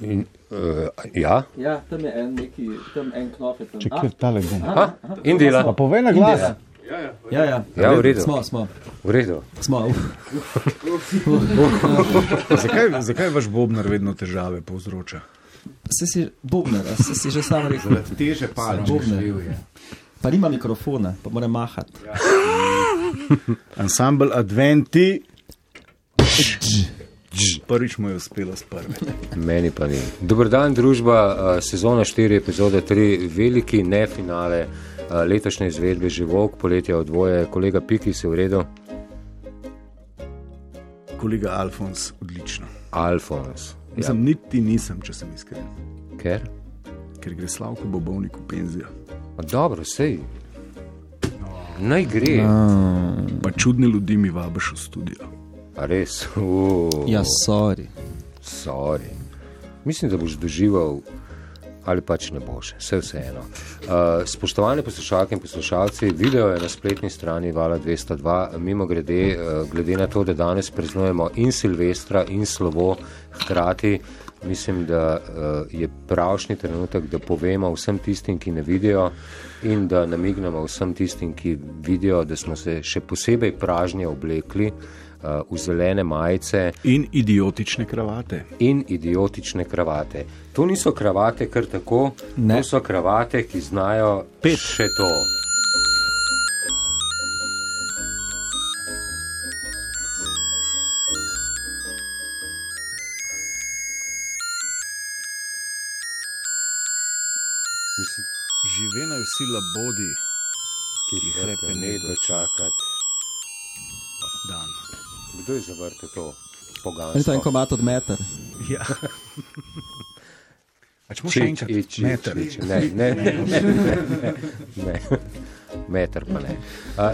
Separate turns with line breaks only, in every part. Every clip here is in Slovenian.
In, uh, ja,
Ja, tam je en, neki, tam en knop je tam. Ah.
Če kjer tale gumb.
in
Pa
dela.
povej na glas.
Indira. Ja, ja,
Ja, v redu.
Smo, smo,
V redu.
smo.
Zakaj, zakaj vaš bobnar vedno težave povzroča?
Se si bobnar, a se si že sam rekel.
Teže palice.
Bobnar.
je.
Pa nima mikrofona, pa mora mahati.
Ensemble Adventi. Prvič mu je uspelo s prve.
Meni pa ni. Dobr dan, družba, eh, sezona 4, epizoda 3, veliki ne finale eh, letošnje izvedbe Živok, poletje od dvoje, kolega Piki se v redu,
Kolega Alfons, odlično.
Alfons.
Mislim, ja. niti nisem, če sem iskren,
Ker?
ker gre slavko bobovnik v penzijo.
Ma Dobro, sej. Naj gre,
Pa čudni ljudi mi vabiš v studio.
A res. Uh,
Ja, sorry.
sorry. Mislim, da boš doživel, ali pač ne boš, vse vseeno. Uh, spoštovane poslušalke in poslušalci, video je na spletni strani Vala 202, mimo grede, uh, glede na to, da danes preznujemo in Silvestra in Slovo hkrati. Mislim, da uh, je pravšnji trenutek, da povemo vsem tistim, ki ne vidijo, in da namignemo vsem tistim, ki vidijo, da smo se še posebej pražnje oblekli uh, v zelene majice,
In idiotične kravate.
in idiotične kravate. To niso kravate kar tako, ne.
Ne.
to so kravate, ki znajo pet še to. Mislim,
Žive naj vsi labodi
ki jih
Hrepe
hrepe ne
ne
dočakati.
dan.
Kdo je zavrtel to?
Je to en
Poganstvo.
komat od meter.
Ja. A če moš še
Čič,
enkrat,
ič, ič,
Meter.
ič. Ne, ne, ne, ne, ne. Meter pa ne. Uh,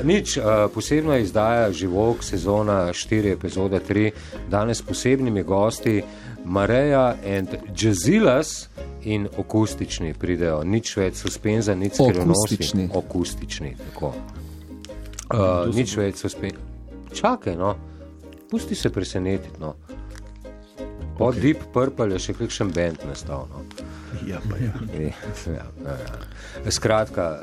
nič, uh, posebna izdaja Živok, sezona 4, epizoda 3, danes s posebnimi gosti Mareja and Jazilas in akustični pridejo. Nič več suspenza, nič skrivnosti.
Okustični.
Akustični, tako. Uh, nič več suspenza. Čakaj, no, pusti se presenetiti. No. Po okay. Deep Purple je še kakšen bend nastal. No.
Ja, pa ja.
Ja, ja, ja. Skratka, eh,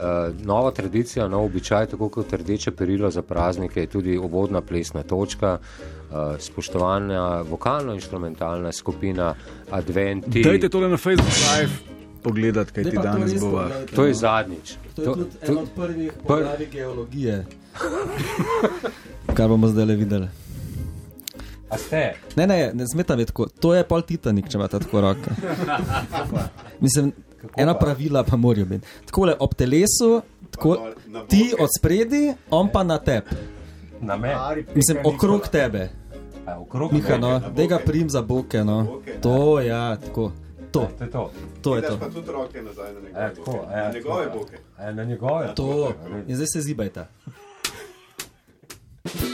nova tradicija, nov običaj, tako kot rdeče perilo za praznike, je tudi obodna plesna točka, eh, spoštovana vokalno-instrumentalna skupina Adventi.
Dajte tole na Facebook Live pogledati, kaj ti danes bova.
To je zadnjič.
To je tudi
to-
ena od prvih
poglavij
poglavij geologije. Kar bomo zdaj le videli.
A ste?
Ne, ne, ne zmetam je tako. To je pol Titanik, če imate tako roke. Mislim, ena pravila pa morajo biti. Takole ob telesu, tako, ti od spredi, on pa na tep.
Na me.
Mislim, okrog tebe.
A, okrog
Miha, no, da ga prim za boke. No. To, ja, tako. To,
To je to.
to je
Daš
to.
pa tudi roke nazaj na
E,
njegove boke.
tako,
Na njegove boke.
e, E, na njegove.
To. In zdaj se zibajta. um um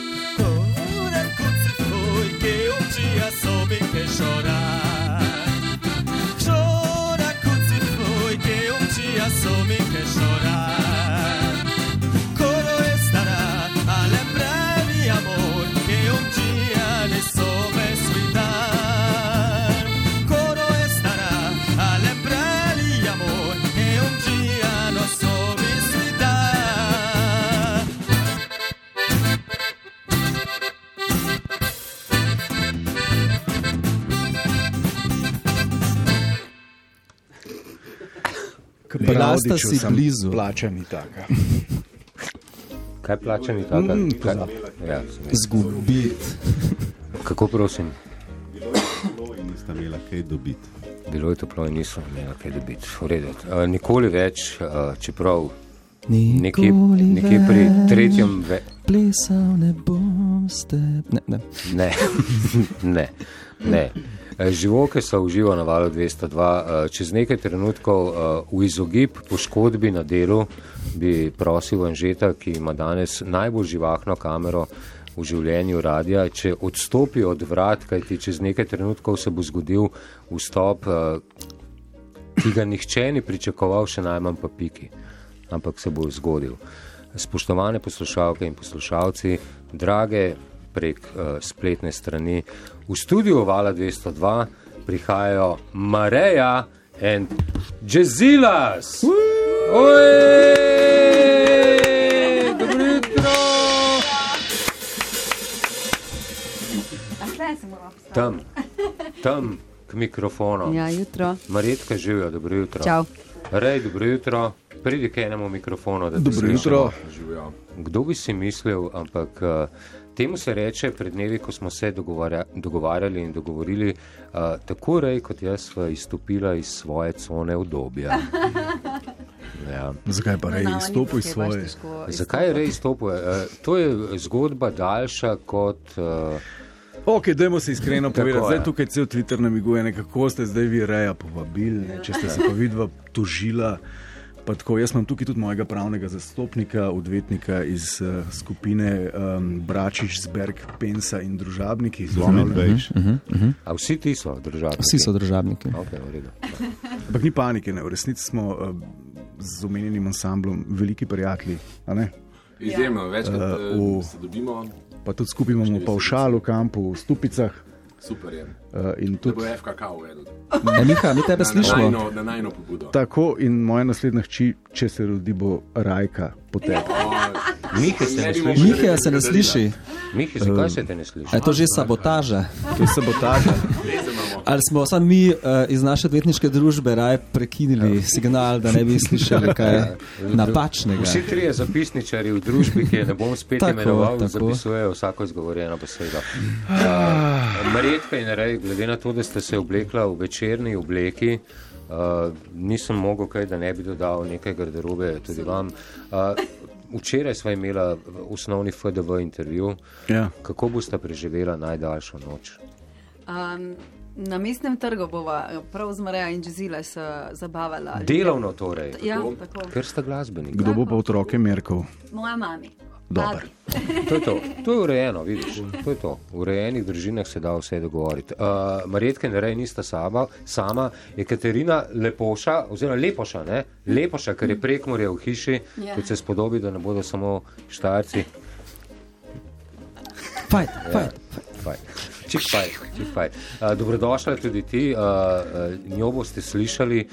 Bila sta si blizu.
Plača ni taka.
Kaj plače ni tako?
Mm,
Kaj- Ja,
Zgubiti.
kako prosim?
Bilo in nista imela kaj dobiti.
Bilo je toplo in nisem imel kaj dobiti. V redu. Eh, Nikoli več, eh, čeprav nekje, nekje pri tretjem, ve,
Plesal ne bom s teboj. Ne, ne.
ne, ne, ne. Eh, Živoke so uživo na valu 202. eh, Čez nekaj trenutkov eh, v izogib poškodbi na delu bi prosil Anžeta, ki ima danes najbolj živahno kamero v življenju radija, če odstopi od vrat, kajti čez nekaj trenutkov se bo zgodil vstop, eh, ki ga nihče ni pričakoval, še najmanj pa piki, ampak se bo zgodil. Spoštovane poslušalke in poslušalci, eh, drage prek uh, spletne strani, v studiu Vala 202 prihajajo Mareja in Jezilas. Ojej, dobro jutro!
A tle se moramo postaviti.
Tam, tam, k mikrofonu.
Ja, jutro.
Marjetka živijo, dobro jutro.
Čau.
Rej, dobro jutro. Pridi k enemu mikrofonu, da te
Dobro
slišimo.
jutro.
Kdo bi si mislil, ampak uh, temu se reče pred dnevi, ko smo se dogovarja, dogovarjali in dogovorili, uh, tako rej kot jaz sva izstopila iz svoje cone obdobja. Ja.
Zakaj pa rej izstopi iz svoje?
Zakaj je rej izstopil? Uh, to je zgodba daljša kot. Uh,
Ok, dajmo se iskreno povedati.
je.
Zdaj tukaj cel Twitter namiguje, nekako ste zdaj vi reja povabili, ne?
Ja.
če ste se pa vidva tožila. Pa tako, jaz imam tukaj tudi mojega pravnega zastopnika, odvetnika iz uh, skupine um, Bračiš, Zberg, Pensa in Družabniki.
Zlomen
Pozdravljen.
veš.
a vsi ti so državljani?
Vsi so državniki.
Okay, v redu.
Ampak ni panike, ne? v resnici smo uh, z omenjenim ansamblom veliki prijatelji. a ne?
Izjemno, večkrat
Eh,
uh,
v-
se dobimo,
Pa tudi skupaj imamo pa v šalu, kampu, v stupicah
super je.
uh, in
To
tudi
bo FKK uvedel.
E, Miha, mi tebe
Na
slišimo.
najno- Na najno pobudo.
Tako in moja naslednja hči, če se rodi, bo rajka potekla.
Mihe se ne
Ne bi
sliši.
mogli-
Miha se ne sliši.
Mihe, zakaj se te ne sliši?
A je to že sabotaža?
To je sabotaža.
Ali smo samo mi uh, iz naše odvetniške družbe raje
Ja.
prekinili signal, da ne bi slišali kaj napačnega?
Vsi trije zapisničari v družbi, ki je ne bom spet
Tako,
imenoval,
tako.
zapisujejo vsako izgovorjeno besedo. Uh, Marjetka in Rej, glede na to, da ste se oblekla v večerni obleki, uh, nisem mogel kaj, da ne bi dodal nekaj garderobe tudi vam. Uh, včeraj sva imela osnovni FDV intervju.
Ja.
Kako boste preživela najdaljšo noč?
Um, na mestnem trgu bova eh, prav z Marejo in Džezile se zabavala.
Delovno torej,
Ja, tako.
ker ste glasbenik.
Kdo bo pa otroke merkal?
Moja mami.
Dober.
Babi.
To je, to. to je urejeno, vidiš. To je to. V urejenih družinah se da vse dogovoriti. Uh, Marjetke in Rej nista sama, sama je Katerina Lepoša, oziroma Lepoša, ne? Lepoša, ker je prek morja v hiši,
Ja.
yeah. kot se spodobi, da ne bodo samo štajrci.
Fajt, fajt.
Fajn. Čik fajn, čik fajn. Uh, dobrodošla tudi ti, uh, uh, njo boste slišali.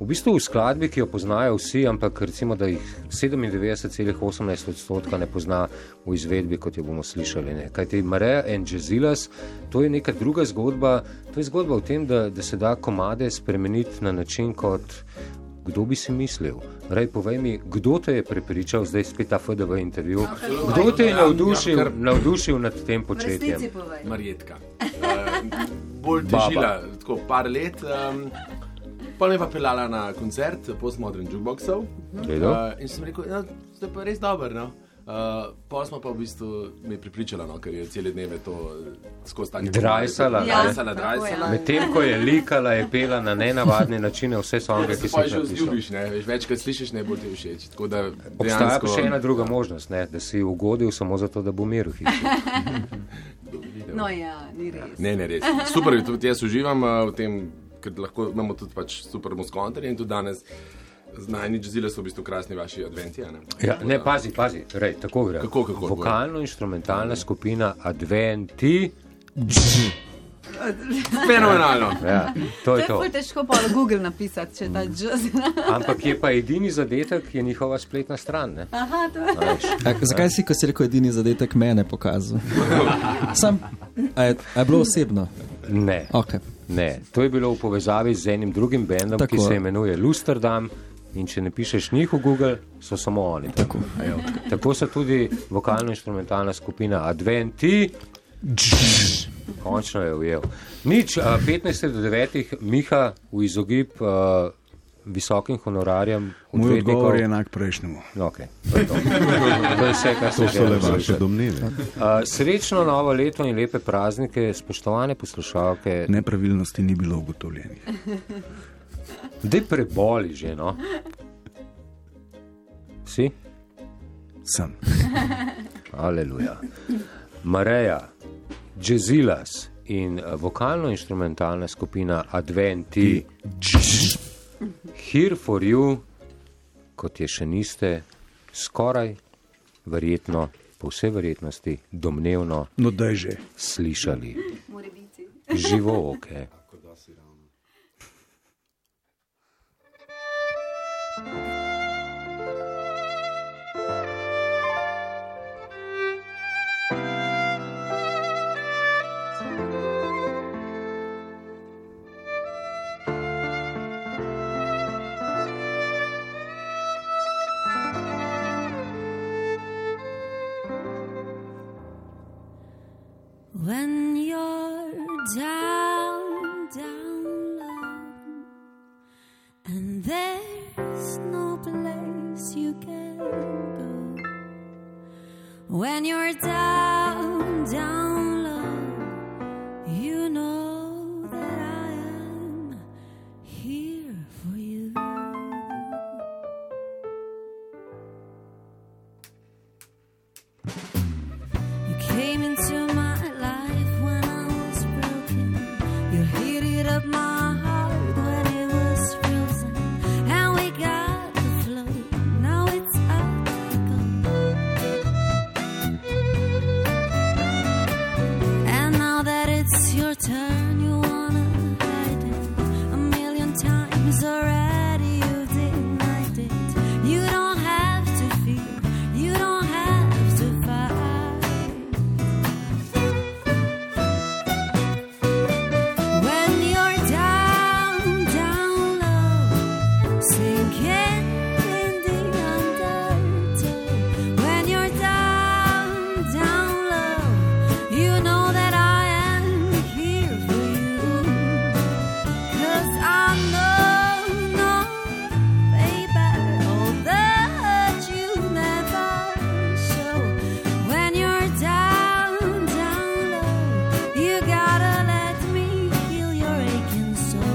V bistvu v skladbi, ki jo poznajo vsi, ampak recimo, da jih 97,18 odstotka ne pozna v izvedbi, kot jo bomo slišali. Ne. Kaj ti Mareja in Jezilas, to je neka druga zgodba. To je zgodba o tem, da, da se da komade spremeniti na način, kot kdo bi si mislil. Rej, povej mi, kdo te je prepričal, zdaj spet ta FDV intervju, kdo te je navdušil, navdušil nad tem
V resnici
početjem?
povej.
Marjetka. Uh, bolj težila, tako par let. Um, pa me pa pelala na koncert postmodern jukeboxov.
Redo?
Eh, in sem rekel, no, to je pa res dobro. No. Uh, pa smo pa v bistvu me pripričala, no, ker je cele dneve to eh, skozi tako
Drajsala,
Ja,
drajsala,
tako,
drajsala.
ja.
Medtem ko je likala, je pela na nenavadne načine vse songe,
Se
ki so
pa
jih
že
napisal.
vzljubiš, ne, veš, večkrat slišiš, ne bo ti všeč. Tako da
Obstaja
dejansko-
pa še ena druga možnost, ne, da si ugodil samo zato, da bo mir v hiši.
No ja, ni res.
Ne, ne, res. Super, je, tudi jaz uživam eh, v tem, ker lahko imamo tudi pač super muskontarje in tudi danes. Znani džezile so v bistvu krasni vaši adventi. a Ne?
Ja, ne, pazi, pazi, rej, tako gre.
Kako, kako, Bojan?
Vokalno-instrumentalna skupina Adventi,
Fenomenalno.
ja, to
To
je
je
to. Mm.
ful težko pa na Google napisati, če ta džez.
Ampak je pa edini zadetek, je njihova spletna stran. Ne?
Aha, to je.
Ja.
A, Eh, zakaj si, ko si rekel, edini zadetek mene pokazal? Sam, a je, a je bilo osebno?
ne.
Okay.
Ne, to je bilo v povezavi z enim drugim bendom, Tako. ki
Tako.
se imenuje Lusterdam. In če ne pišeš njih v Google, so samo oni. Tako, Tako so tudi vokalno-instrumentalna skupina Adventi. Končno je ujel. Nič, a, 15 do 9, Miha, v izogib a, visokim honorarjem,
Moj
odvetnikov.
odgovor je enak prejšnjemu.
Okay, to, je to. to je vse, kar sem
To so le
želel.
vaše
slišati.
domneve.
A, Srečno novo leto in lepe praznike, spoštovane poslušalke,
Nepravilnosti ni bilo ugotovljenih.
Dej preboli že, no. Si?
Sem.
Aleluja. Mareja, Jezilas in eh, vokalno-instrumentalna skupina Adventi, Here for You, kot je še niste, skoraj verjetno, po vsej verjetnosti, domnevno
No, daj že.
slišali.
Mora biti.
Živo oke.
si ravno.
When you're down, down low, and there's no place you can go. When you're down, down low, you know that I am here for you. You came into my life when I was broken. You heated up my heart when it was frozen. And we got the flow. Now it's up to go. And now that it's your turn, you wanna hide it. A million times already you denied it. You don't have to fear. You don't have to fight. When you're down, down low, sinking in the undertow. When you're down, down low, you know that I am here for you. 'Cause I know, know, baby, all that you never show. When you're down, down low, you gotta let me heal your aching soul.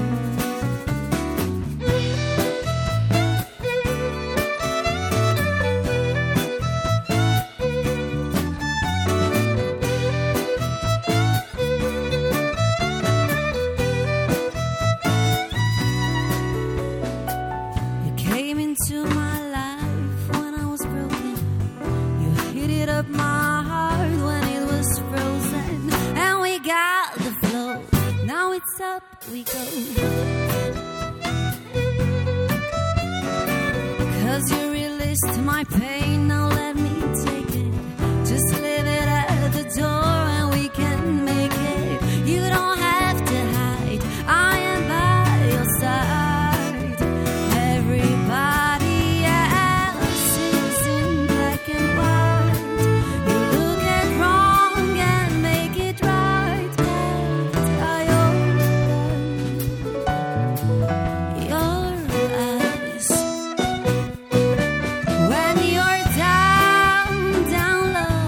You came into my life when I was broken. You heated up my heart when it was frozen. And we got the flow. Now it's up, we go. Cause you released my pain, now let me take it. Just leave it at the door and we can make it. You don't have to hide, I am by your side. Everybody else is in black and white. You look at wrong and make it right. But I open your eyes. When you're down, down low,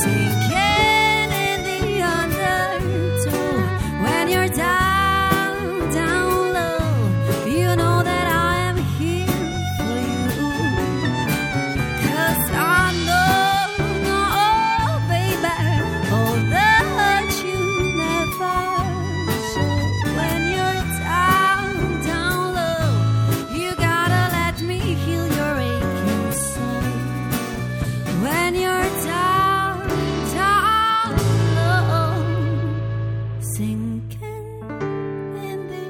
sinking in the undertow. When you're down, down low, you know that I am here for you. 'Cause I know, know, baby, all the hurt you never show. When you're down, down low, you gotta let me heal your aching soul. When you're down, down low, sinking in the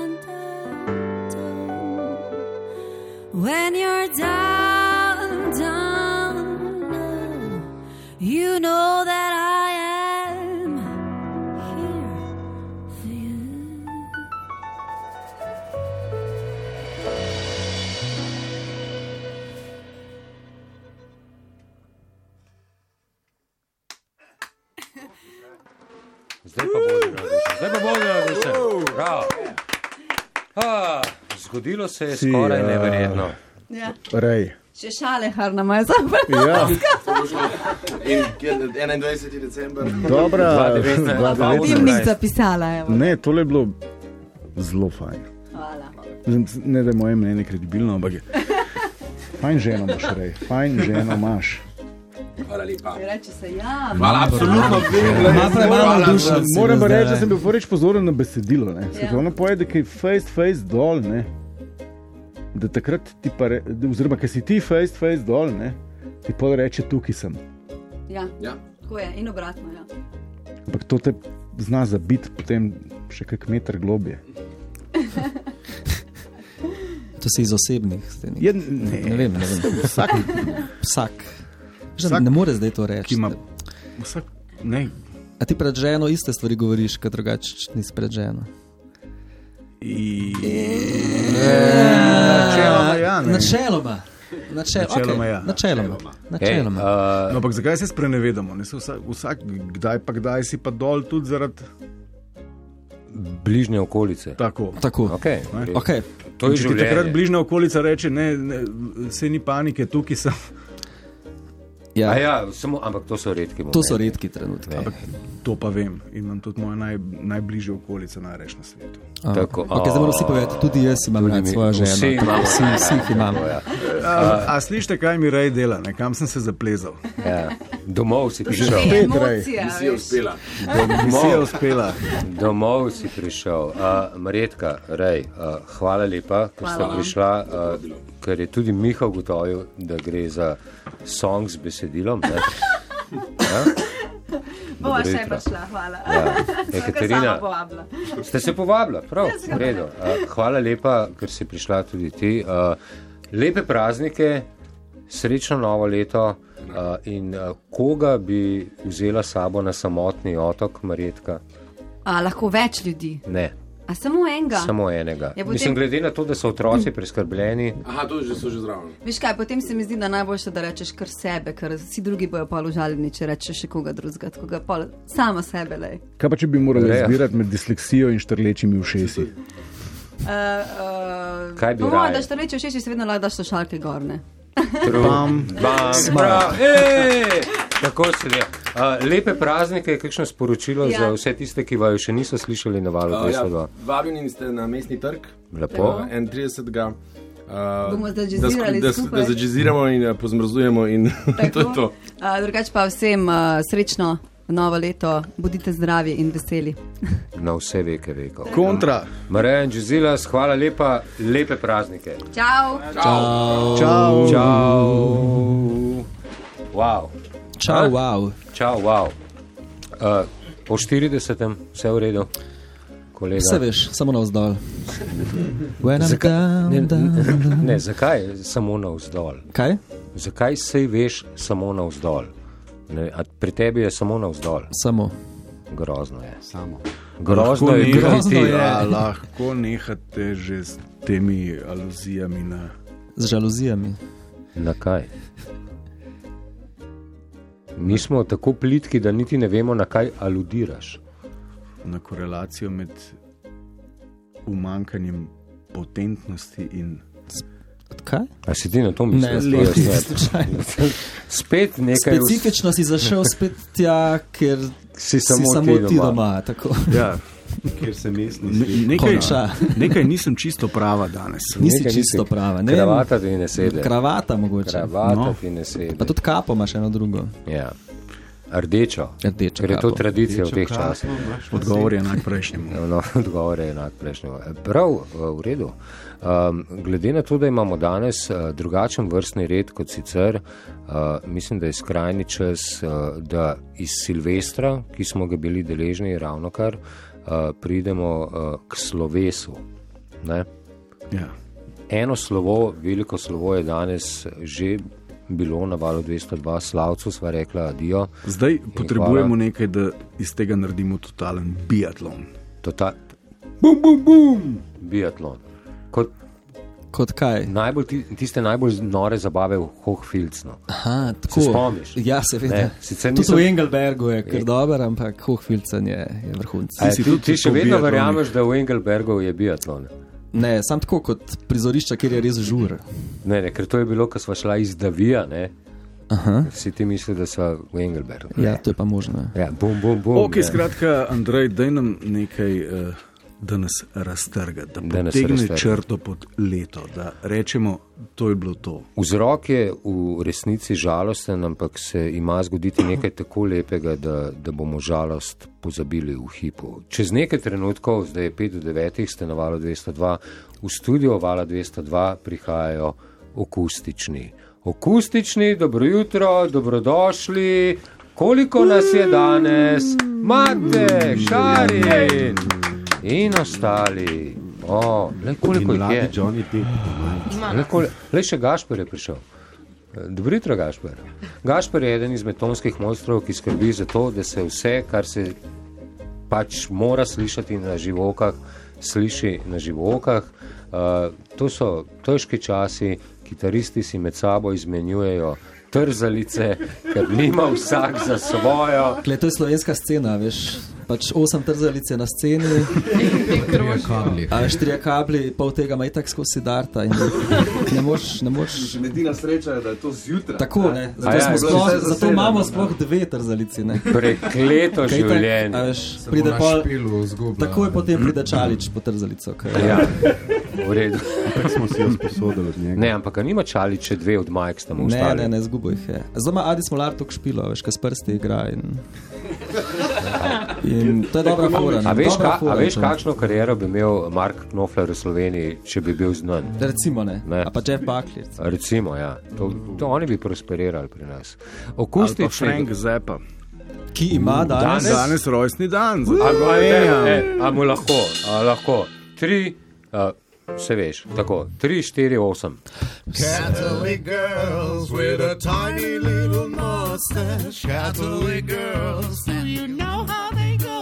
undertow. When you're down, down low, you know that I am here for you.
Zdaj pa bodi na duši. Zdaj pa bodi na duši. Bravo. Ah, Zgodilo se je
Si,
skoraj
ja.
neverjetno.
Ja.
Rej.
Še šale, harna maja zabavna.
Ja,
In kje- 21. december.
dobra,
2019.
Ti
2019.
Sedemnajst.
mi zapisala, evo.
Ne, tole je bilo zelo fajn.
Hvala.
Mislim, Ne, da je moje mnenje kredibilno, ampak je. Fajn ženo imaš, rej. Fajn ženo imaš.
Hvala lepa.
Reče se ja.
Hvala, absolutno.
Ima premalo duše.
Moram pa reči, da sem bil prvič pozoren na besedilo. Ne. Se
Ja.
ti ono poje, da je face, face dol. Ne. Da takrat ti pa, re, da- oziroma, ker si ti face, face dol, ne, ti pa reče, tukaj sem.
Ja,
Ja.
tako je in obratno. Ja.
Ampak to te zna zabiti potem še kak meter globje.
To si iz osebnih. zdaj nek-
Je,
Ne
Ja, ne,
vem, ne vem.
vsak,
Vsak. Že
Vsak,
ne more zdaj to reči.
ki ima, vsak, ne,
A ti pred ženo iste stvari govoriš, kot drugače nisi pred ženo.
načeloma ja, ne.
Načeloma. Načel,
Načeloma,
okay.
ja.
Načeloma.
Ej,
Načeloma.
uh,
No, ampak zakaj se sprenevedamo? Ne? Saj Vsak, vsak, kdaj pa kdaj si pa dol, tudi zaradi
bližnje okolice.
tako.
Tako.
Okay.
Okay.
To je
In če ti takrat
življenje.
bližnja okolica reče, ne, ne se ni panike, tukaj sem.
A
Ja,
Ja, samo, ampak to so redki.
to so
momenti.
redki trenutki.
Ne.
To pa vem in imam tudi moje naj, najbližje okolice, najreč na svetu.
A,
Tako,
Okay, zdaj moramo vsi povedati, tudi jaz imam rad
mi,
svojo ženo.
vsi imamo
vsi,
radi
vsi jih imamo.
Ja,
A, a slišite, kaj mi rej dela, ne? kam sem se zaplezal?
Ja. Domov si
Te
prišel.
Pet rej.
emocije.
Si je
veš.
uspela.
Vse je uspela.
Domov si prišel. Uh, Marjetka, Rej, uh, hvala lepa, ker ste
Hvala.
prišla, uh, ker je tudi Miha ugotovil, da gre za song z besedilom. ne. Ja?
Bova
Dobro
še
jutro.
prišla, hvala.
Ja.
Sva ga
Ekaterina.
sama povabila.
Ste se povabila, prav, v redu. Uh, hvala lepa, ker si prišla tudi ti. Uh, lepe praznike, srečno novo leto uh, in uh, koga bi vzela s sabo na samotni otok, Marjetka?
A lahko več ljudi,
Ne,
a samo enega.
samo enega.
Ja, potem-
Mislim, glede na to, da so otroci preskrbljeni.
Aha, to že so že zraven.
Veš kaj, potem se mi zdi, da najboljše, da rečeš kar sebe, ker vsi drugi bojo pa užaljeni, če rečeš še koga drugega, tako da pol samo sebe le.
Kaj pa, če bi morali
Reja.
izbirati med disleksijo in štrlečimi ušesi?
Uh, uh,
Kaj bi
po mojem,
raje?
da štrleče všeč, še vedno lahko daš šalke gorne.
Bam.
Bam, prav, ej, Tako se je. Uh, lepe praznike, kakšno sporočilo ja.
Ja.
za vse tiste, ki vaju še niso slišali na valu
Uh, ja,
202.
vabljeni ste na mestni trg.
Lepo.
po 31. Uh,
Bomo
da,
zadžezirali
sk- da, s-
skupaj.
da zadžeziramo in eh, pozmrzujemo, in to je to.
Uh, drugač pa vsem uh, srečno novo leto, bodite zdravi in veseli.
Na vse veke rekel.
Kontra.
Marija in Džizilas, hvala lepa, lepe praznike.
Ciao!
Čau.
Čau. Wow.
Čau, wow.
Čau, wow. Uh, po 40. vse v redu. Kolega.
Vse veš, samo navzdol. When I'm
Zakaj,
down,
ne,
down,
ne, ne, zakaj samo navzdol?
Kaj?
Zakaj se veš samo navzdol? Ne, a pri tebi je samo navzdol,
Samo.
grozno je.
Samo.
Grozno
Lahko
je,
nehate-
grozno je.
Ja, lahko nehate že s temi aluzijami na.
Z žalozijami.
Na kaj? Mi smo tako plitki, da niti ne vemo, na kaj aludiraš.
na korelacijo med umankanjem potentnosti in
Kaj?
A si ti na to misliš?
Ne,
Sploh
leti,
jaz ne.
slučajno.
Spet nekaj
Specifično si zašel spet tja, ker
Si
si
samo
samo
ti
ti
doma.
doma. Tako.
ja,
Ker se mestni
ne,
svet
nekaj,
Konča.
nekaj nisem čisto prava danes.
Nisi
Nekaj
čisto
nisi-
prava. Ne vem.
Kravata ti ne sedi.
Kravata mogoče.
Kravata no.
No.
ti ne sedi.
Pa tudi kapo imaš eno drugo.
Ja. Rdečo.
Rdečo
Ker je to
kapo.
tradicija v teh časih.
Odgovor je enak prejšnjemu.
No, odgovor je enak prejšnjemu. Prav, v redu. Um, glede na to, da imamo danes uh, drugačen vrstni red kot sicer, uh, mislim, da je skrajni čas, uh, da iz Silvestra, ki smo ga bili deležni ravno kar, uh, pridemo uh, k slovesu. Ne?
Ja.
Eno slovo, veliko slovo je danes že bilo na valu 202, slavcu sva rekla adijo.
Zdaj
hvala.
potrebujemo nekaj, da iz tega naredimo totalen biatlon.
Tota... Bum, bum, bum! Biatlon. Kot
Kot kaj?
najbolj, ti- tiste najbolj nore zabave v no. Hohfilcnu.
Aha, tako.
Se spomniš?
Ja, seveda.
Ne, sicer
Tudi
nisem-
v Engelbergu je kar dober, ampak Hohfilcen je, je vrhunc.
A je
si
ti,
tudi
ti še
tako
vedno
biatlonik?
verjameš, da v Engelbergu je biatlon?
Ne, sam tako kot prizorišča, kjer je res žur.
Ne, ne, ker to je bilo, ko sva šla iz Davija, ne?
Aha.
Vsi ti mislijo, da sva v Engelbergu.
Ja, to je pa možno.
Ja, bum, bum, bum.
Ok,
ne.
skratka, Andrej, daj nam nekaj, eh, da nas raztrga, da
Da nas raztrga.
potegne črto pod leto, da rečemo, to je bilo to.
Vzrok je v resnici žalosten, ampak se ima zgoditi nekaj tako lepega, da, da bomo žalost pozabili v hipu. Čez nekaj trenutkov, zdaj je 5 do 9, ste na valu 202, v studio vala 202 prihajajo akustični. Akustični, dobro jutro, dobrodošli, koliko nas je danes? Mate, Šarin in ostali. O, le koliko jih je.
Mladi Johnny Depp, doma.
Le, kole, le še Gašpor je prišel. Eh, Dobro jutro, Gašpor. Gašpor je eden izmed tonskih mojstrov, ki skrbi za to, da se vse, kar se pač mora slišati na živokah, sliši na živokah. Uh, to so težki časi, kitaristi si med sabo izmenjujejo trzalice, ker nima vsak za svojo.
Kle, to je slovenska scena, veš. Pač osem trzalic je na sceni,
Kabli.
a veš trije kabli, pol tega ima itak skozi darta. in Ne moreš, ne moreš.
Edina sreča je, da je to zjutraj.
Tako, ne.
A
Zato,
ja,
smo
je
sploh,
vse zasedeno,
zato imamo
ne.
sploh dve trzalici, ne.
Prekleto
Kaj itak, a
življenje.
veš, Pride pol,
Pilu, zgublja.
takoj potem pride čalič po trzalico. ker-
Ja, v redu.
Tako smo si jo sposodili od njega.
Ne, ampak a nima čali, če dve od Majk sta mu
Ne,
ostali.
ne, ne, zgubo jih je. Zdaj ima Adi Smolar to špilo, veš, kaj s prsti igra. In, in to je dobra fora. ne,
A veš,
dobra
ka, a
fora je
veš
to.
kakšno kariero bi imel Mark Knofler v Sloveniji, če bi bil znan?
Recimo ne.
Ne.
ne. A pa Jeff Buckley. recimo.
Recimo, ja. to, to oni bi prosperirali pri nas.
Ali pa
Akustični.
Frank Zappa.
Ki ima danes.
Danes rojstni dan.
A,
zato-
a, ne, ne, a mu lahko, a lahko. Tri, a, se veš, tako, tri, štiri, osem.
Catholic girls with a tiny little mustache. Catholic girls, do you know how they go?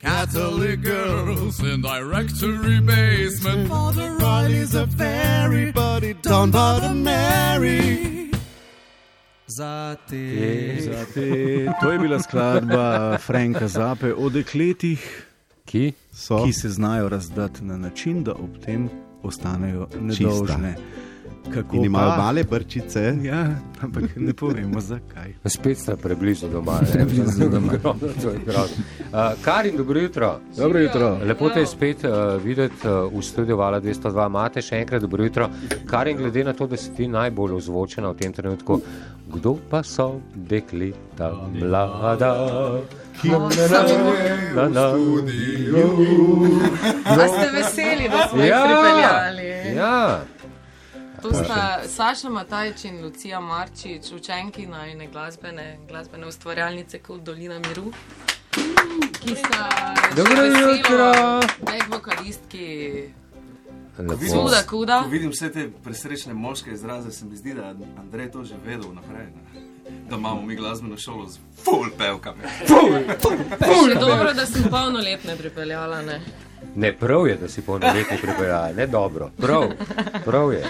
Catholic girls in directory basement. Father Riley's a fairy, but he don't bother Mary.
Za te.
Za te- E, To je bila skladba Franka Zappe o dekletih,
Ki?
So,
ki se znajo razdati na način, da ob tem ostanejo nedolžne. Kako
in imajo
pa?
male brčice.
Ja, ampak ne povemo zakaj.
Spet sta preblizu doma. Preblizu doma. to je grozno. A, Karin, dobro jutro.
Dobro jutro.
Lepo te je spet uh, videti uh, v studiu Vala 202. Mate še enkrat dobro jutro. Kar je glede na to, da si ti najbolj ozvočena v tem trenutku. Kdo pa so dekleta mlada? Ki
Oh,
na na
A ste veseli, da smo jih
No. Ja.
pripeljali?
Ja,
To sta Saša Matajč in Lucija Marčič, učenki najne glasbene, glasbene ustvarjalnice kot Dolina Miru. Ki sta že
Dobro
veselo
jutro.
Bek vokalistki
lepo.
Suda Kuda.
Ko vidim vse te presrečne moške izraze, se mi zdi, da je Andrej to že vedel naprej. Ne? Da imamo mi glasbeno šolo z full pevkami.
Še dobro, da sem polnoletne pripeljala. Ne?
Ne prav je, da si polnoletni pripeljal, ne dobro. Prav, prav je.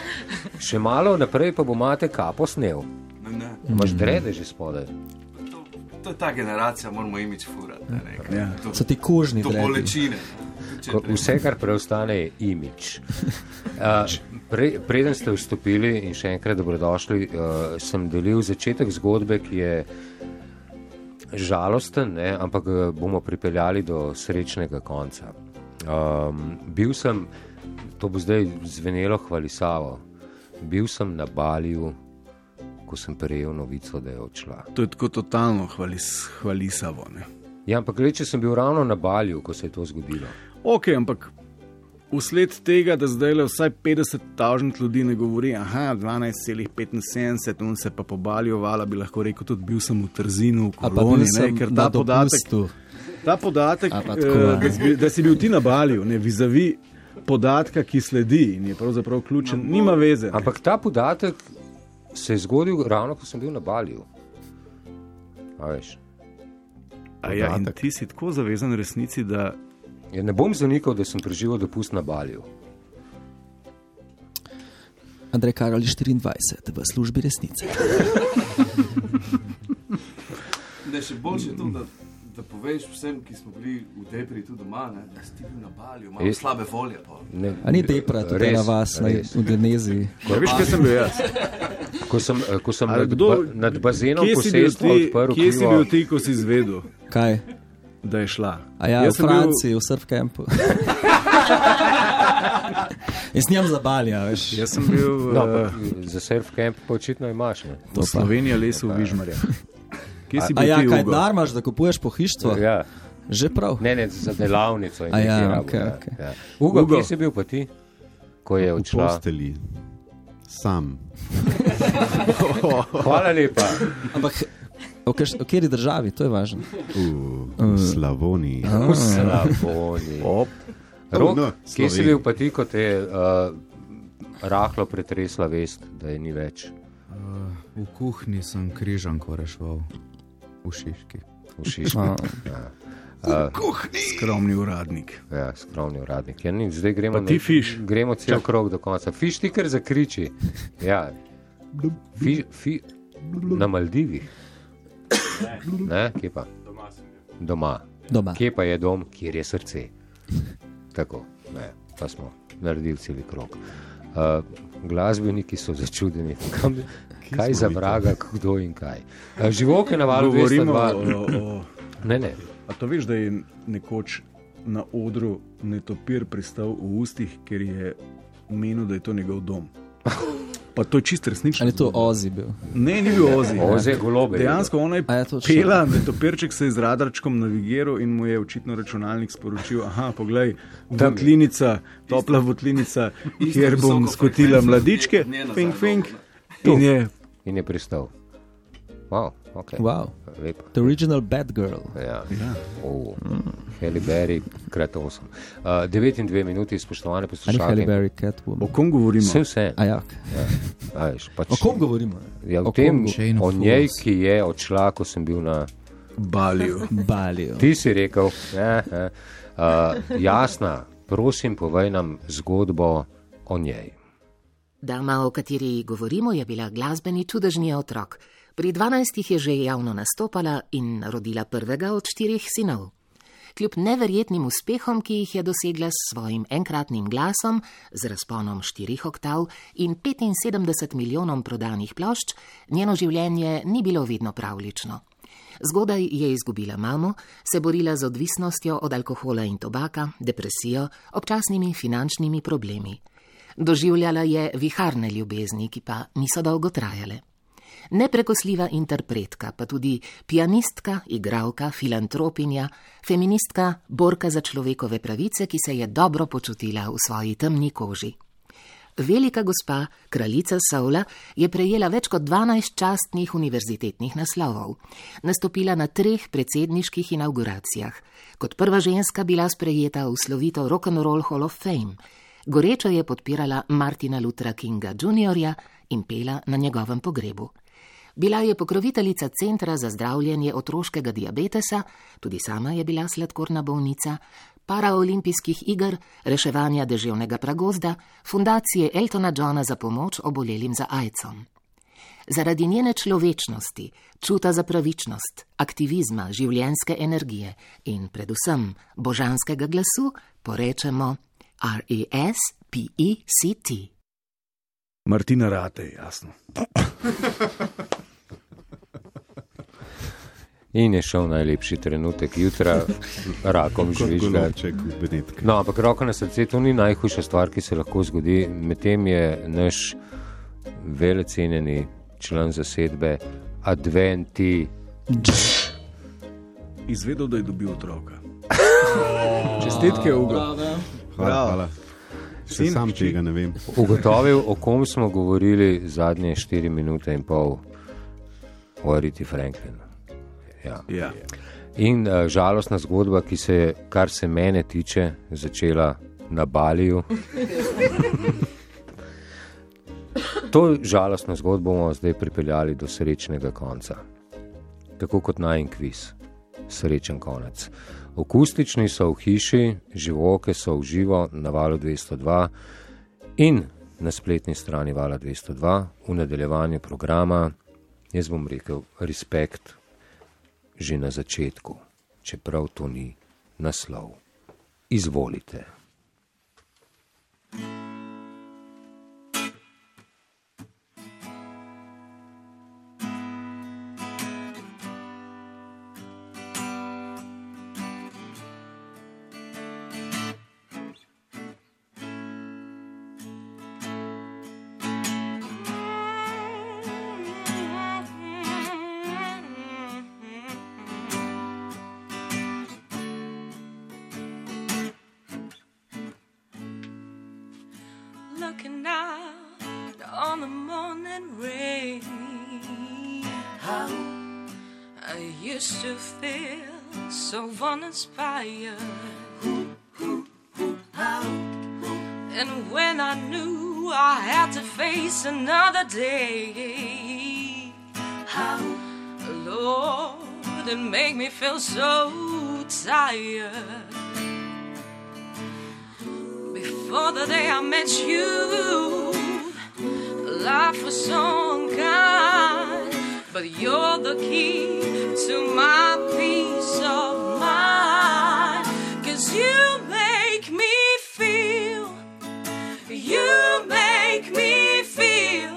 Še malo naprej pa bo mate kapo snel.
Ne, ne.
Imaš drede že spodaj.
To, to je ta generacija, moramo imič furati. ne, nekaj.
Ja.
Do-
So ti kožni
Do
dredi.
bolečine. Če
Ko
prej-
Vse, kar preostane, je imič. Uh, pre, preden ste vstopili in še enkrat dobrodošli, uh, sem delil začetek zgodbe, ki je žalosten, ne, ampak ga bomo pripeljali do srečnega konca. Um, bil sem, to bo zdaj zvenelo hvalisavo, bil sem na Baliju, ko sem prejel novico, da je odšla.
To je tako totalno hvalis, hvalisavo. Ne?
Ja, ampak reče, sem bil ravno na Baliju, ko se je to zgodilo.
Ok, ampak usled tega, da zdaj le vsaj 50 tažnih ljudi ne govori, aha, 12,75, on se pa pobalijo, vala bi lahko rekel, tudi bil sem v Trzinu, v
A pa bil
Koloni, ne,
sem
ker
na
ta podatek,
dopustu.
ta podatek
A pa
eh,
tako, ne.
da, si, bil- da si bil ti na balju, ne vizavi podatka, ki sledi in je pravzaprav ključen, nima veze. ne.
Ampak ta podatek se je zgodil ravno, ko sem bil na Balju. A veš,
A ja, in
podatek.
ti si tako zavezan resnici, da
ja ne bom zanikal, da sem preživel dopust na Balju.
Andrej Karol je 24 v službi resnice.
Ne, še boljše je to, da, da poveš vsem, ki smo bili v Debri tu doma, ne, da si ti bil na balju,
Je-
malo slabe volje. Pa.
Ne,
A ni depra, to je
res,
na vas, na,
res.
v Geneziji.
ne Ja, veš, kje sem bil jaz.
Ko sem, eh, ko sem
Ali
nad,
kdo-
ba, nad bazenom
Kje si bil
posestva
ti,
odprl
kje si
pivo,
bil ti, ko si izvedel,
Kaj?
da je šla?
A ja,
Jaz
v
sem bil-
Franciji, v surf kampu. Jaz njim zabalja, veš.
Jaz sem bil
no,
eh,
ampak, za surf camp pa očitno imaš. Ne?
v Sloveniji, lesu v Vižmarju. Kje si
A
bil
ja,
ti,
kaj
Ugo?
denar imaš, da kupuješ pohištvo?
Ja.
Že prav.
Ne, ne, za delavnico. in
A ja,
nekaj
ok,
rabo, ja,
ok.
ja. Ugo,
Ugo.
kje si bil pa ti, ko je
V
odšla?
posteli. Sam.
Hvala lepa.
Ampak v kaš- v kateri državi, to je važno.
Uh, V Slavoniji.
Ah, ja.
V Slavoniji. Rok,
no,
kje si bil pa ti, ko te je uh, rahlo pretresla vest, da je ni več?
V kuhinji sem križanko reševal, v Šiški.
V Šiški.
Ah.
A.
Ja. Uh,
skromni uradnik.
Ja, skromni uradnik. Ja, nič, zdaj gremo
Pa ti
na-
fiš.
Gremo cel
Čak.
krog do konca. Fiš ti kar zakriči. Ja. Fi, fi, na Maldivih. Ne, kje pa? Doma sem bil. Doma.
Doma.
Kje pa je dom, kjer je srce? Tako, ne, pa smo naredili cel krog. Uh, glasbeniki so začudeni, kam, kaj za vraga, kdo in kaj. Uh, živoke na valu
Govorimo
202.
o- o-
Ne, ne.
A to veš, da je nekoč na odru netopir pristal v ustih, ker je menil, da je to njegov dom. Pa to je čist resnično.
Ali je to Ozi bil?
Ne, ni bil Ozi.
Ozi je golobe.
Dejansko ona je
A je točno.
pela, da je to perček se je z radarčkom navigiral in mu je očitno računalnik sporočil, aha, poglej, votlinica, topla votlinica,
Isto
kjer bom
visoko
skotila
frekvenco,
mladičke,
ne- ne nazaj
fink, fink.
Tu.
In je
In je pristal. Wow, okay.
Wow.
Lepo.
The original bad girl.
Ja. Oh. Halle Berry, krat 8. Uh, 9 in 2 minuti, spoštovane
Ali Halle
poslušalke.
Berry, Catwoman.
O kom govorimo?
Vse vse.
A jak?
Ja. A, veš, pač,
O kom govorimo?
Ja, o,
O
tem,
Kongu. Chain of
o njej,
Fools.
ki je odšla, ko sem bil na
Baliju.
Baliju.
Ti si rekel, eh, eh. Uh, jasna, prosim, povej nam zgodbo o njej.
Dama, o kateri govorimo, je bila glasbeni čudežni otrok. Pri 12 je že javno nastopala in rodila prvega od štirih sinov. Kljub neverjetnim uspehom, ki jih je dosegla s svojim enkratnim glasom, z razponom štirih oktav in 75 milijonom prodanih plošč, njeno življenje ni bilo vedno pravlično. Zgodaj je izgubila mamo, se borila z odvisnostjo od alkohola in tobaka, depresijo, občasnimi finančnimi problemi. Doživljala je viharne ljubezni, ki pa niso dolgo trajale. Neprekosljiva interpretka, pa tudi pianistka, igralka, filantropinja, feministka, borka za človekove pravice, ki se je dobro počutila v svoji temni koži. Velika gospa, kraljica Saula, je prejela več kot 12 častnih univerzitetnih naslovov. Nastopila na treh predsedniških inauguracijah. Kot prva ženska bila sprejeta v slovito Rock'n'Roll Hall of Fame. Goreče je podpirala Martina Luthera Kinga Jr. in pela na njegovem pogrebu. Bila je pokroviteljica Centra za zdravljenje otroškega diabetesa, tudi sama je bila sladkorna bolnica, paraolimpijskih iger, reševanja deževnega pragozda, fundacije Eltona Johna za pomoč obolelim za AIDS-om. Zaradi njene človečnosti, čuta za pravičnost, aktivizma, življenske energije in predvsem božanskega glasu porečemo E R-E-S-P-E-C-T.
Martina Rate, jasno.
In je šel najlepši trenutek jutra, rakom
Kot
žvižga.
golobček v Benetku.
No, ampak roko na srce, to ni najhujša stvar, ki se lahko zgodi. Medtem je naš velecenjeni član zasedbe Adventi.
Izvedel, da je dobil otroka. Čestitke, Ugo.
Bravo.
Hvala,
Bravo.
hvala. Še
Sin,
sam
hči?
tega ne vem.
Ugotovil, o kom smo govorili zadnje 4 minute in pol, o Ariti Franklinu. Ja.
Ja.
In uh, žalostna zgodba, ki se je, kar se mene tiče, začela na Baliju. To žalostno zgodbo bomo zdaj pripeljali do srečnega konca. Tako kot najen kviz, srečen konec. Akustični so v hiši, živoke so v živo na valu 202 in na spletni strani vala 202 v nadaljevanju programa. Jaz bom rekel, respekt že na začetku, čeprav to ni naslov. Izvolite.
looking out on the morning rain. How I used to feel so uninspired. And when I knew I had to face another day, Lord, it made me feel so tired. Before the day I met you, life was so unkind, but you're the key to my peace of mind. Cause you make me feel, you make me feel,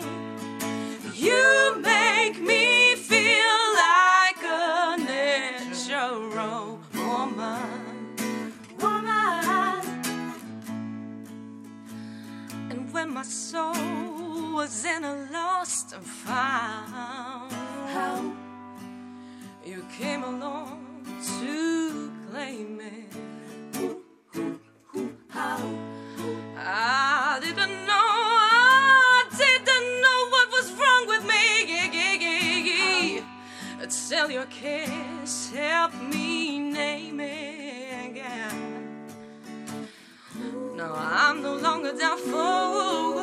you make me feel like a natural woman. Woman. And when my soul was in a lost and found, you came along to claim it. I didn't know, I didn't know what was wrong with me. Until your kiss helped me name it again. Now I'm no longer down for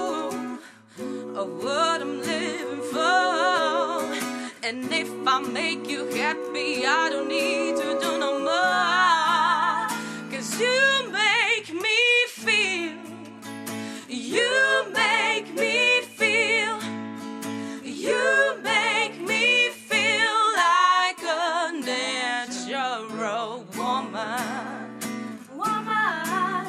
a what I'm living for. And if I make you happy, I don't need to do no more. Cause you make me feel, you make me feel, you make me feel like a natural woman. Woman.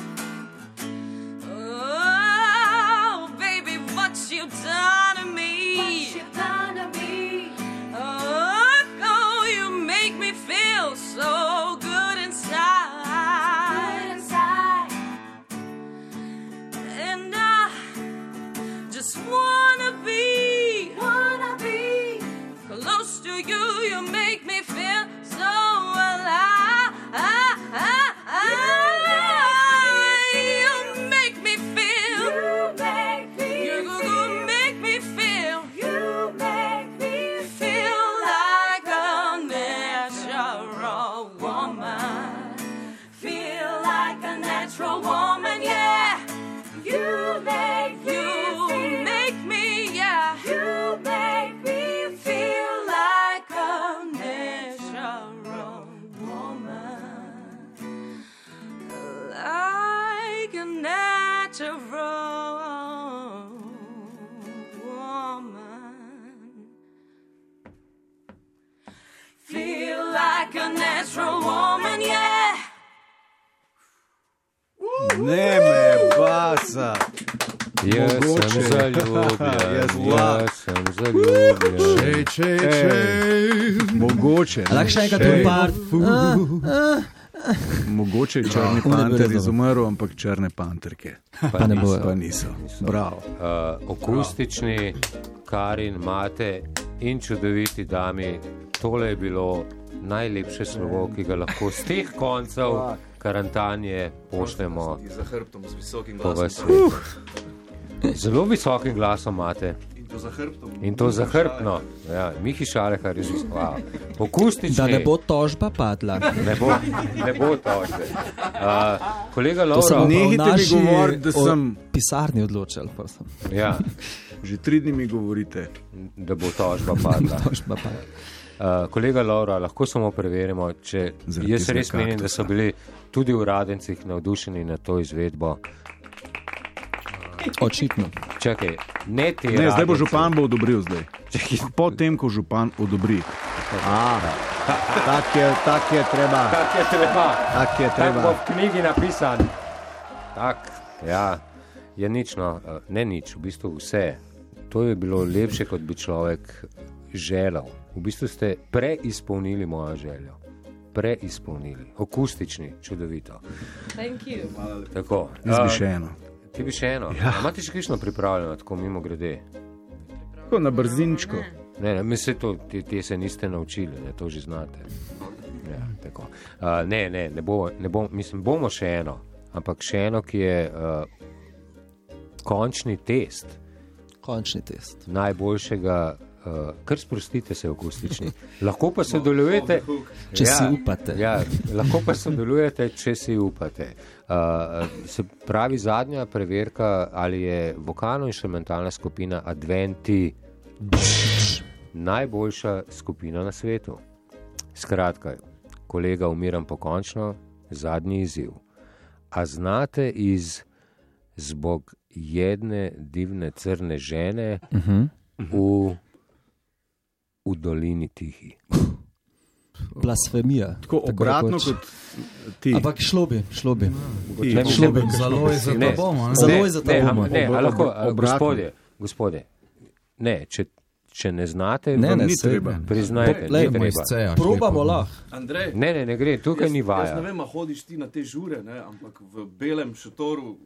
Oh, baby, what you done to me? What you done to me? Oh, oh, you make me feel so good inside. Good inside. And I just wanna be, wanna be close to you. You make me feel so alive. You make me feel. You make me you feel. make me feel. You make me feel like a natural woman. Feel like a natural woman, yeah. You make me you make me, yeah. You make me feel like a natural woman, like a natural woman. Feel like a natural woman, yeah.
Ne me basa.
Jaz
Mogoče.
sem zaljubljen,
Jaz
jaz,
vlak.
sem zaljubljen.
Čej, čej, čej. Mogoče.
A lahko še enkrat
Čej.
en par? Ah,
Fu. Mogoče je črni
Ja.
panter izumrl, ampak črne panterke.
Pa ne bojo.
Pa niso. Bravo.
Uh, akustični, Karin, Mate in čudoviti dami. Tole je bilo najlepše slovo, ki ga lahko z teh koncev karantanje pošljemo
Za hrbtom z visokim torej.
po
glasom.
vas. Zelo visokim glasom imate.
In to za hrbtom.
In to zahrbtno. Ja, Mihi Šalehar je že spal. Akustični.
Da ne bo tožba padla.
Ne bo, ne bo tožbe. Uh, kolega
To se
Lovro,
bo pa v
Nehajte mi
naši
govoriti, da
o-
sem-
pisarni odločil. pa sem.
Ja.
Že tri dni mi govorite,
da bo tožba padla.
Tožba padla.
Uh, kolega Laura, lahko samo preverimo, če
Zaradi
jaz res
tistega
menim, da so bili tudi v Radencih navdušeni na to izvedbo.
Očitno.
Čakaj, ne te.
Ne, zdaj bo
Radenci.
župan bo odobril zdaj. Potem, ko župan odobri.
A,
tak, je, tak je treba.
Tak je treba.
Tak je treba.
Tak bo v knjigi napisan. Tak, ja, je nič, no, eh, ne nič, v bistvu vse. To je bilo lepše, kot bi človek želel. V bistvu ste preizpolnili mojo željo. Preizpolnili, akustični, čudovito.
Thank you.
Tako,
Jaz bi
eh,
še eno.
Ti bi še eno. Ja. Imate še kakšno pripravljeno, tako mimo grede?
Tako na brzinčko.
Ne, ne, mislim, to, te, te se niste naučili, ne, to že znate. Ja, tako. uh, ne, ne, ne, bo, ne bom, mislim, bomo še eno, ampak še eno, ki je uh, končni test
Končni test.
najboljšega Uh, kar sprostite se akustični. Lahko pa sodelujete,
Če si upate.
Ja, lahko pa sodelujete, če si upate. Uh, se pravi, zadnja preverka, ali je vokalno-instrumentalna skupina Adventi najboljša skupina na svetu. Skratka, kolega, umiram pokončno, zadnji izziv. A znate iz zbog jedne divne crne žene
Mhm.
v, v dolini tihi?
Blasfemija.
Tako obratno kot ti.
Ampak šlo bi, šlo bi.
Ti. Ne, ne, ne, ne, ne,
Zelo je za
ne,
to bomo.
am- Ne, a lahko, a, gospodje, gospodje, ne, če, če ne znate,
Ne,
vam
ne,
ni
saj-
treba.
ne.
Priznajte,
Poglejmo
ni
iz
treba.
ceja, Probamo lepo. lahko.
Andrej,
Ne, ne, ne gre, tukaj
jaz,
ni vaja.
Jaz ne vem, a hodiš ti na te žure, ne? ampak v belem šotoru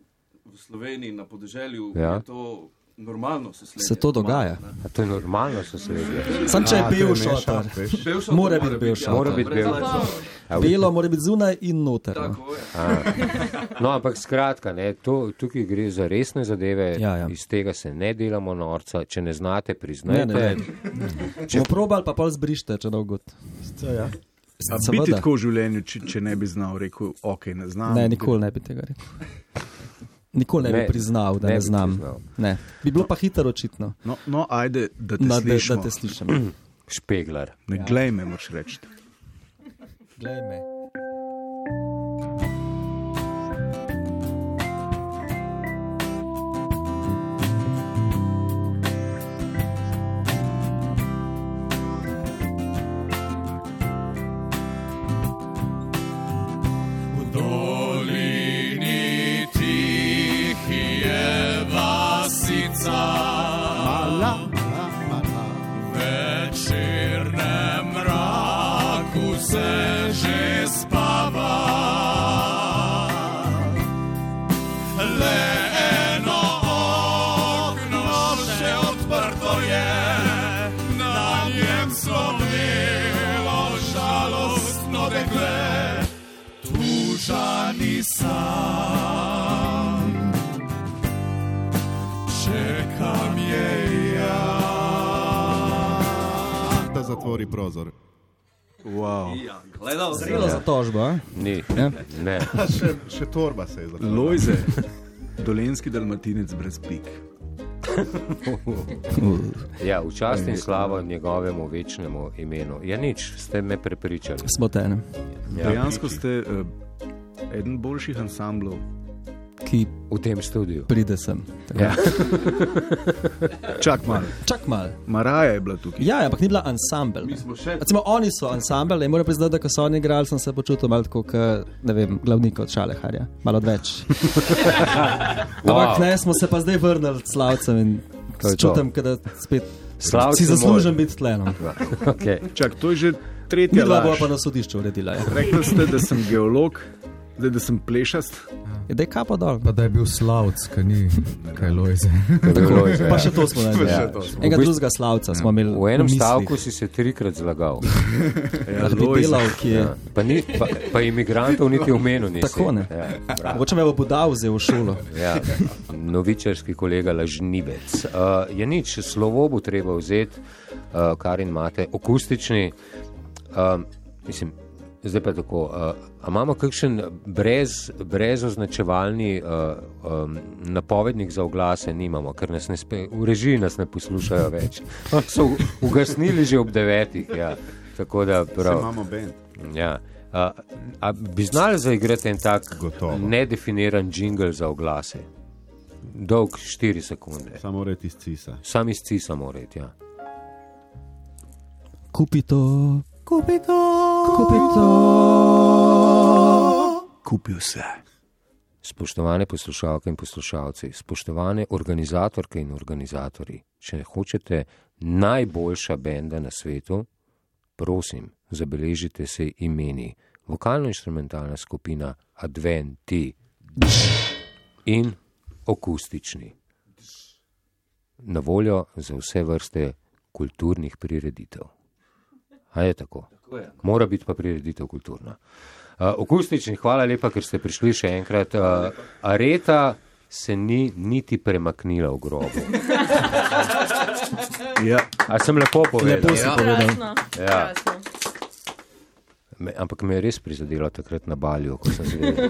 v Sloveniji, na podeželju,
Ja.
ja. je to normalno. Se, slednje,
Se to dogaja.
A to je normalno, so se
Ja,
ljudje.
Sam če je
A, to
bil
mešan,
šotor,
veš.
mora biti bil šotor.
Mora biti bil. A vi-
Belo mora biti zunaj in noter. no.
A. No, ampak skratka, ne, to, tukaj gre za resne zadeve,
Ja, ja.
iz tega se ne delamo norca. Če ne znate,
Ne,
priznajte.
ne, ne.
Če
Če probal, pa pol zbrište, če dolgo.
Ja. A bi ti
Seveda.
tako v življenju, če, če ne bi znal, rekel, ok, ne znam.
Ne, nikoli ne bi tega rekel. Nikoli ne,
Ne,
bi priznal, da
ne
ne,
bi
znam.
priznal.
Ne. Bi bilo pa hitro očitno.
No, no ajde, da te
Na, da-
slišim.
da te slišimo.
Špeglar.
Ne,
Ja.
glej me, moraš reči.
Glej me.
dolini tihi je vasica. Mala, mala. Večernem mraku se že spava. Le eno okno še odprto je, na njem slovelo žalostno dekle tužani sam. Čekam je ja.
Da zatvori prozor.
Wow.
Ja, gledal sem.
Zrelo za tožbo, a?
Ni.
Ja.
Ne.
še, še torba se je zaprla.
Lojze, dolenski dalmatinec brez pik.
Ja, v čast in slavo njegovemu večnemu imenu. Ja, nič, ste me prepričali.
Smo te enem.
Ja.
Ja, Dejansko ste uh, eden boljših ansamblov.
Ki
v tem studiu.
Pride sem. Tako.
Ja. Čak malo.
Čak malo.
Maraja je bila tukaj.
Ja, ampak ni bila ansambl. ne. Recimo, oni so ansambl in moram priznati, da ko so oni igrali, sem se počutil malo kot, ne vem, glavnik od Šaleharja. Malo več. Ampak ne, smo se pa zdaj vrnili s slavcem in
To je to.
čutim, ke da spet
Slavce
si zaslužim
moj.
biti tlenom.
Okay.
Čak, to je že tretja
Midva bova
laž.
pa na sodišču uredila. Ja.
Rekli ste, da sem geolog, zdaj da sem plešast.
Je da je kapo dol.
Pa da je bil slavc, ki ni kaj lojze.
Pa še to smo naredili.
Ja.
Ja. Enega
V bistvu-
drugega slavca smo imeli.
V enem
v mislih.
stavku si se trikrat zlagal.
Ja, Da bi Lojze. delal kje.
Ja.
Ja. Pa, ni, pa, pa imigrantov niti omenil nisi.
Tako ne.
Ja, bravo.
Mogoče me bo podal vzel v šolo.
Ja, novičarski kolega Lažnivec. Uh, je nič, slovo bo treba vzeti, uh, kar imate, akustični. Um, mislim, zdaj pa tako. Uh, a imamo kakšen brez, brez označevalni uh, um, napovednik za oglase? Nimamo, ker nas ne spe, v režiji nas ne poslušajo več. So ugasnili že ob devetih. Ja. Tako da prav.
Saj imamo bend.
Ja. A, a bi znali zaigrati en tak Gotovo. nedefiniran jingle za oglase? Dolg 4 sekunde.
Samo red iz cisa.
Sam iz cisa mora iti. Ja.
Kupi to. Kupi to. Kupi to.
Kupil se.
Spoštovane poslušalke in poslušalci, spoštovane organizatorke in organizatori, če hočete najboljša benda na svetu, prosim, zabeležite se imeni. Vokalno-instrumentalna skupina Adventi in akustični. Na voljo za vse vrste kulturnih prireditev. A je tako?
Tako je.
Mora biti pa prireditev kulturna. Uh, akustični, hvala lepa, ker ste prišli še enkrat. Uh, areta, se ni niti premaknila v grobu.
Ja.
A sem lepo povedal?
Lepo si Ja. povedal. Krasno,
Ja. Me, ampak me je res prizadelo takrat na Balju, ko sem se videl.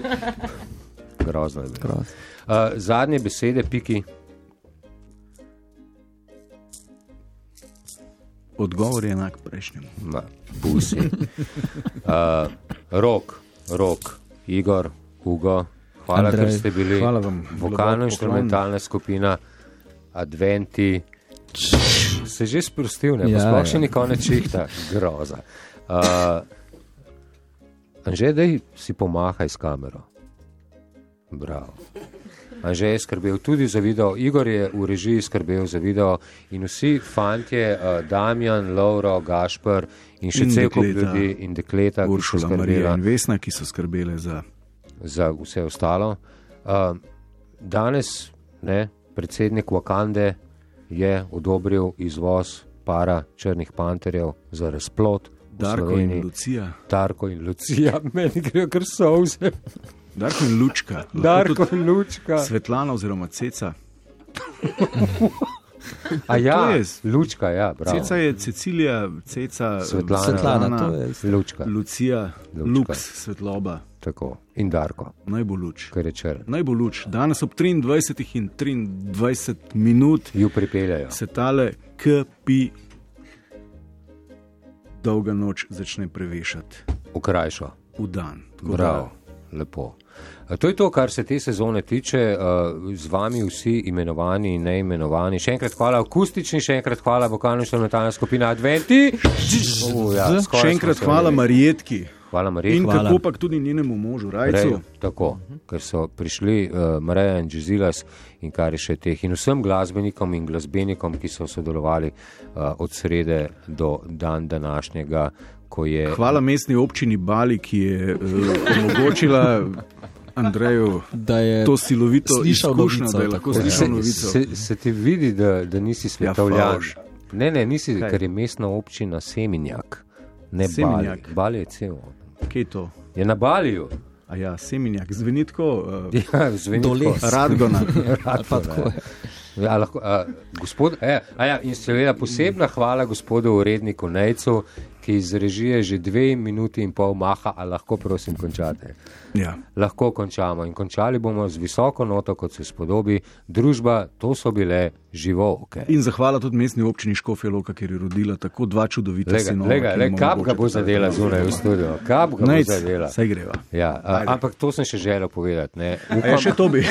Grozno je bilo. Uh, zadnje besede, piki.
Odgovor je enak prejšnjemu.
Na, pusi. Uh, rok, rok, Igor, Hugo, hvala,
Andrej,
Andrej, ker ste bili.
hvala vam.
Vokalno-instrumentalna skupina Adventi. Se že sprostil, ne bo
Ja,
sploh še
ja.
ni konec čihta, groza. Uh, Anže, daj si pomahaj s kamero. Bravo. Anže je skrbel tudi za video, Igor je v režiji skrbel za video in vsi fantje, uh, Damjan, Lauro, Gašpr in še
In
cel kup
dekleta.
ljudi in dekleta, ki so
Uršula, Marija
skrbela
in Vesna, ki so skrbele za.
za vse ostalo. Uh, danes ne, predsednik Wakande je odobril izvoz para črnih panterjev za razplot. v
Darko in
Sloveniji.
Lucija.
Darko in Lucija, meni grejo kar solze.
Darko in Lučka. Lahko
Darko
tudi
in Lučka.
Svetlana oziroma Ceca.
Ja. A
To
ja,
je-
Lučka, ja, bravo.
Ceca je Cecilija, Ceca,
Svetlana. Svetlana, to je isto. Lučka.
Lucija,
Lučka.
Lux, svetloba.
Tako. In Darko.
Naj bo luč.
Ker je črn.
Naj bo luč. Danes ob 23 in 23 minut
ju pripeljajo.
Se tale KPI dolga noč začne prevešati.
Ukrajšo.
V dan. Tako da-
Bravo, lepo. E, To je to, kar se te sezone tiče. e, Z vami vsi imenovani in neimenovani. Še enkrat hvala akustični, še enkrat hvala vokalno-instrumentalna skupina Adventi. U, ja, skoraj
Še
smo
enkrat
se
hvala
imeli.
Marjetki.
Hvala Marjetki.
In
Hvala.
kako pa tudi njenemu možu, Rajcu.
Rejo, tako, ker so prišli uh, Mareja in Džizilas in kar je še teh in vsem glasbenikom in glasbenikom, ki so sodelovali uh, od srede do dan današnjega, ko je
Hvala mestni občini Bali, ki je eh, omogočila Andreju
da je
to silovito
slišal
izkušnjo,
novico,
da je lahko
tako, ja.
slišal
Se-
novico.
Se, se ti vidi, da, da nisi svetovljan?
favž.
ne, ne, nisi,
Ja,
Kaj?
Kaj?
ker je mestna občina Seminjak, ne Seminjak.
Seminjak.
Bali. Bali je cel.
Kje je to?
Je na Baliju.
A ja, seminjak, zvenitko. Uh,
Ja, zveni tako.
Radgona.
Radgona, ja. A lahko, a, gospod, e, a ja, in seveda posebna hvala gospodu uredniku Nejcu, ki iz režije že dve minuti in pol maha, a lahko prosim končate.
Ja.
Lahko končamo in končali bomo z visoko noto, kot se spodobi. Družba, to so bile živoke.
In zahvala tudi mestni občini Škofja Loka, ker je rodila tako dva čudovita
Lega,
sinova.
lega,
ki
le,
nam
kap ga bo
omogočata-
zadela zunaj v studiu, kap ga
Nejc,
bo zadela.
saj greva.
Ja, a, ampak to sem še želel povedati. Ne.
A ja, še to bi.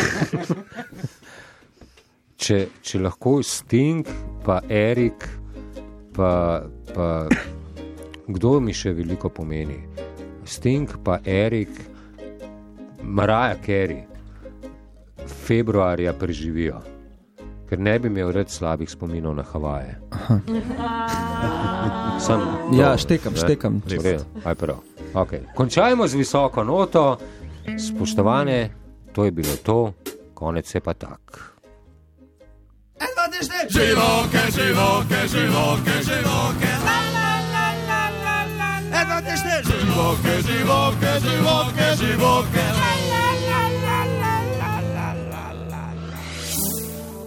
če, če lahko Sting, pa Erik, pa, pa kdo mi še veliko pomeni. Sting, pa Erik, Maraja Kerry, februarja preživijo, ker ne bi imel rad slabih spominov na Havaje. Sam,
Ja,
dobro,
štekam,
ne?
štekam.
V redu, aj prav. Okay. Končajmo z visoko noto, spoštovane, to je bilo to, konec je pa tak.
Živoke, živoke, živoke, živoke, la la la la la la. Živoke, živoke, živoke, živoke, la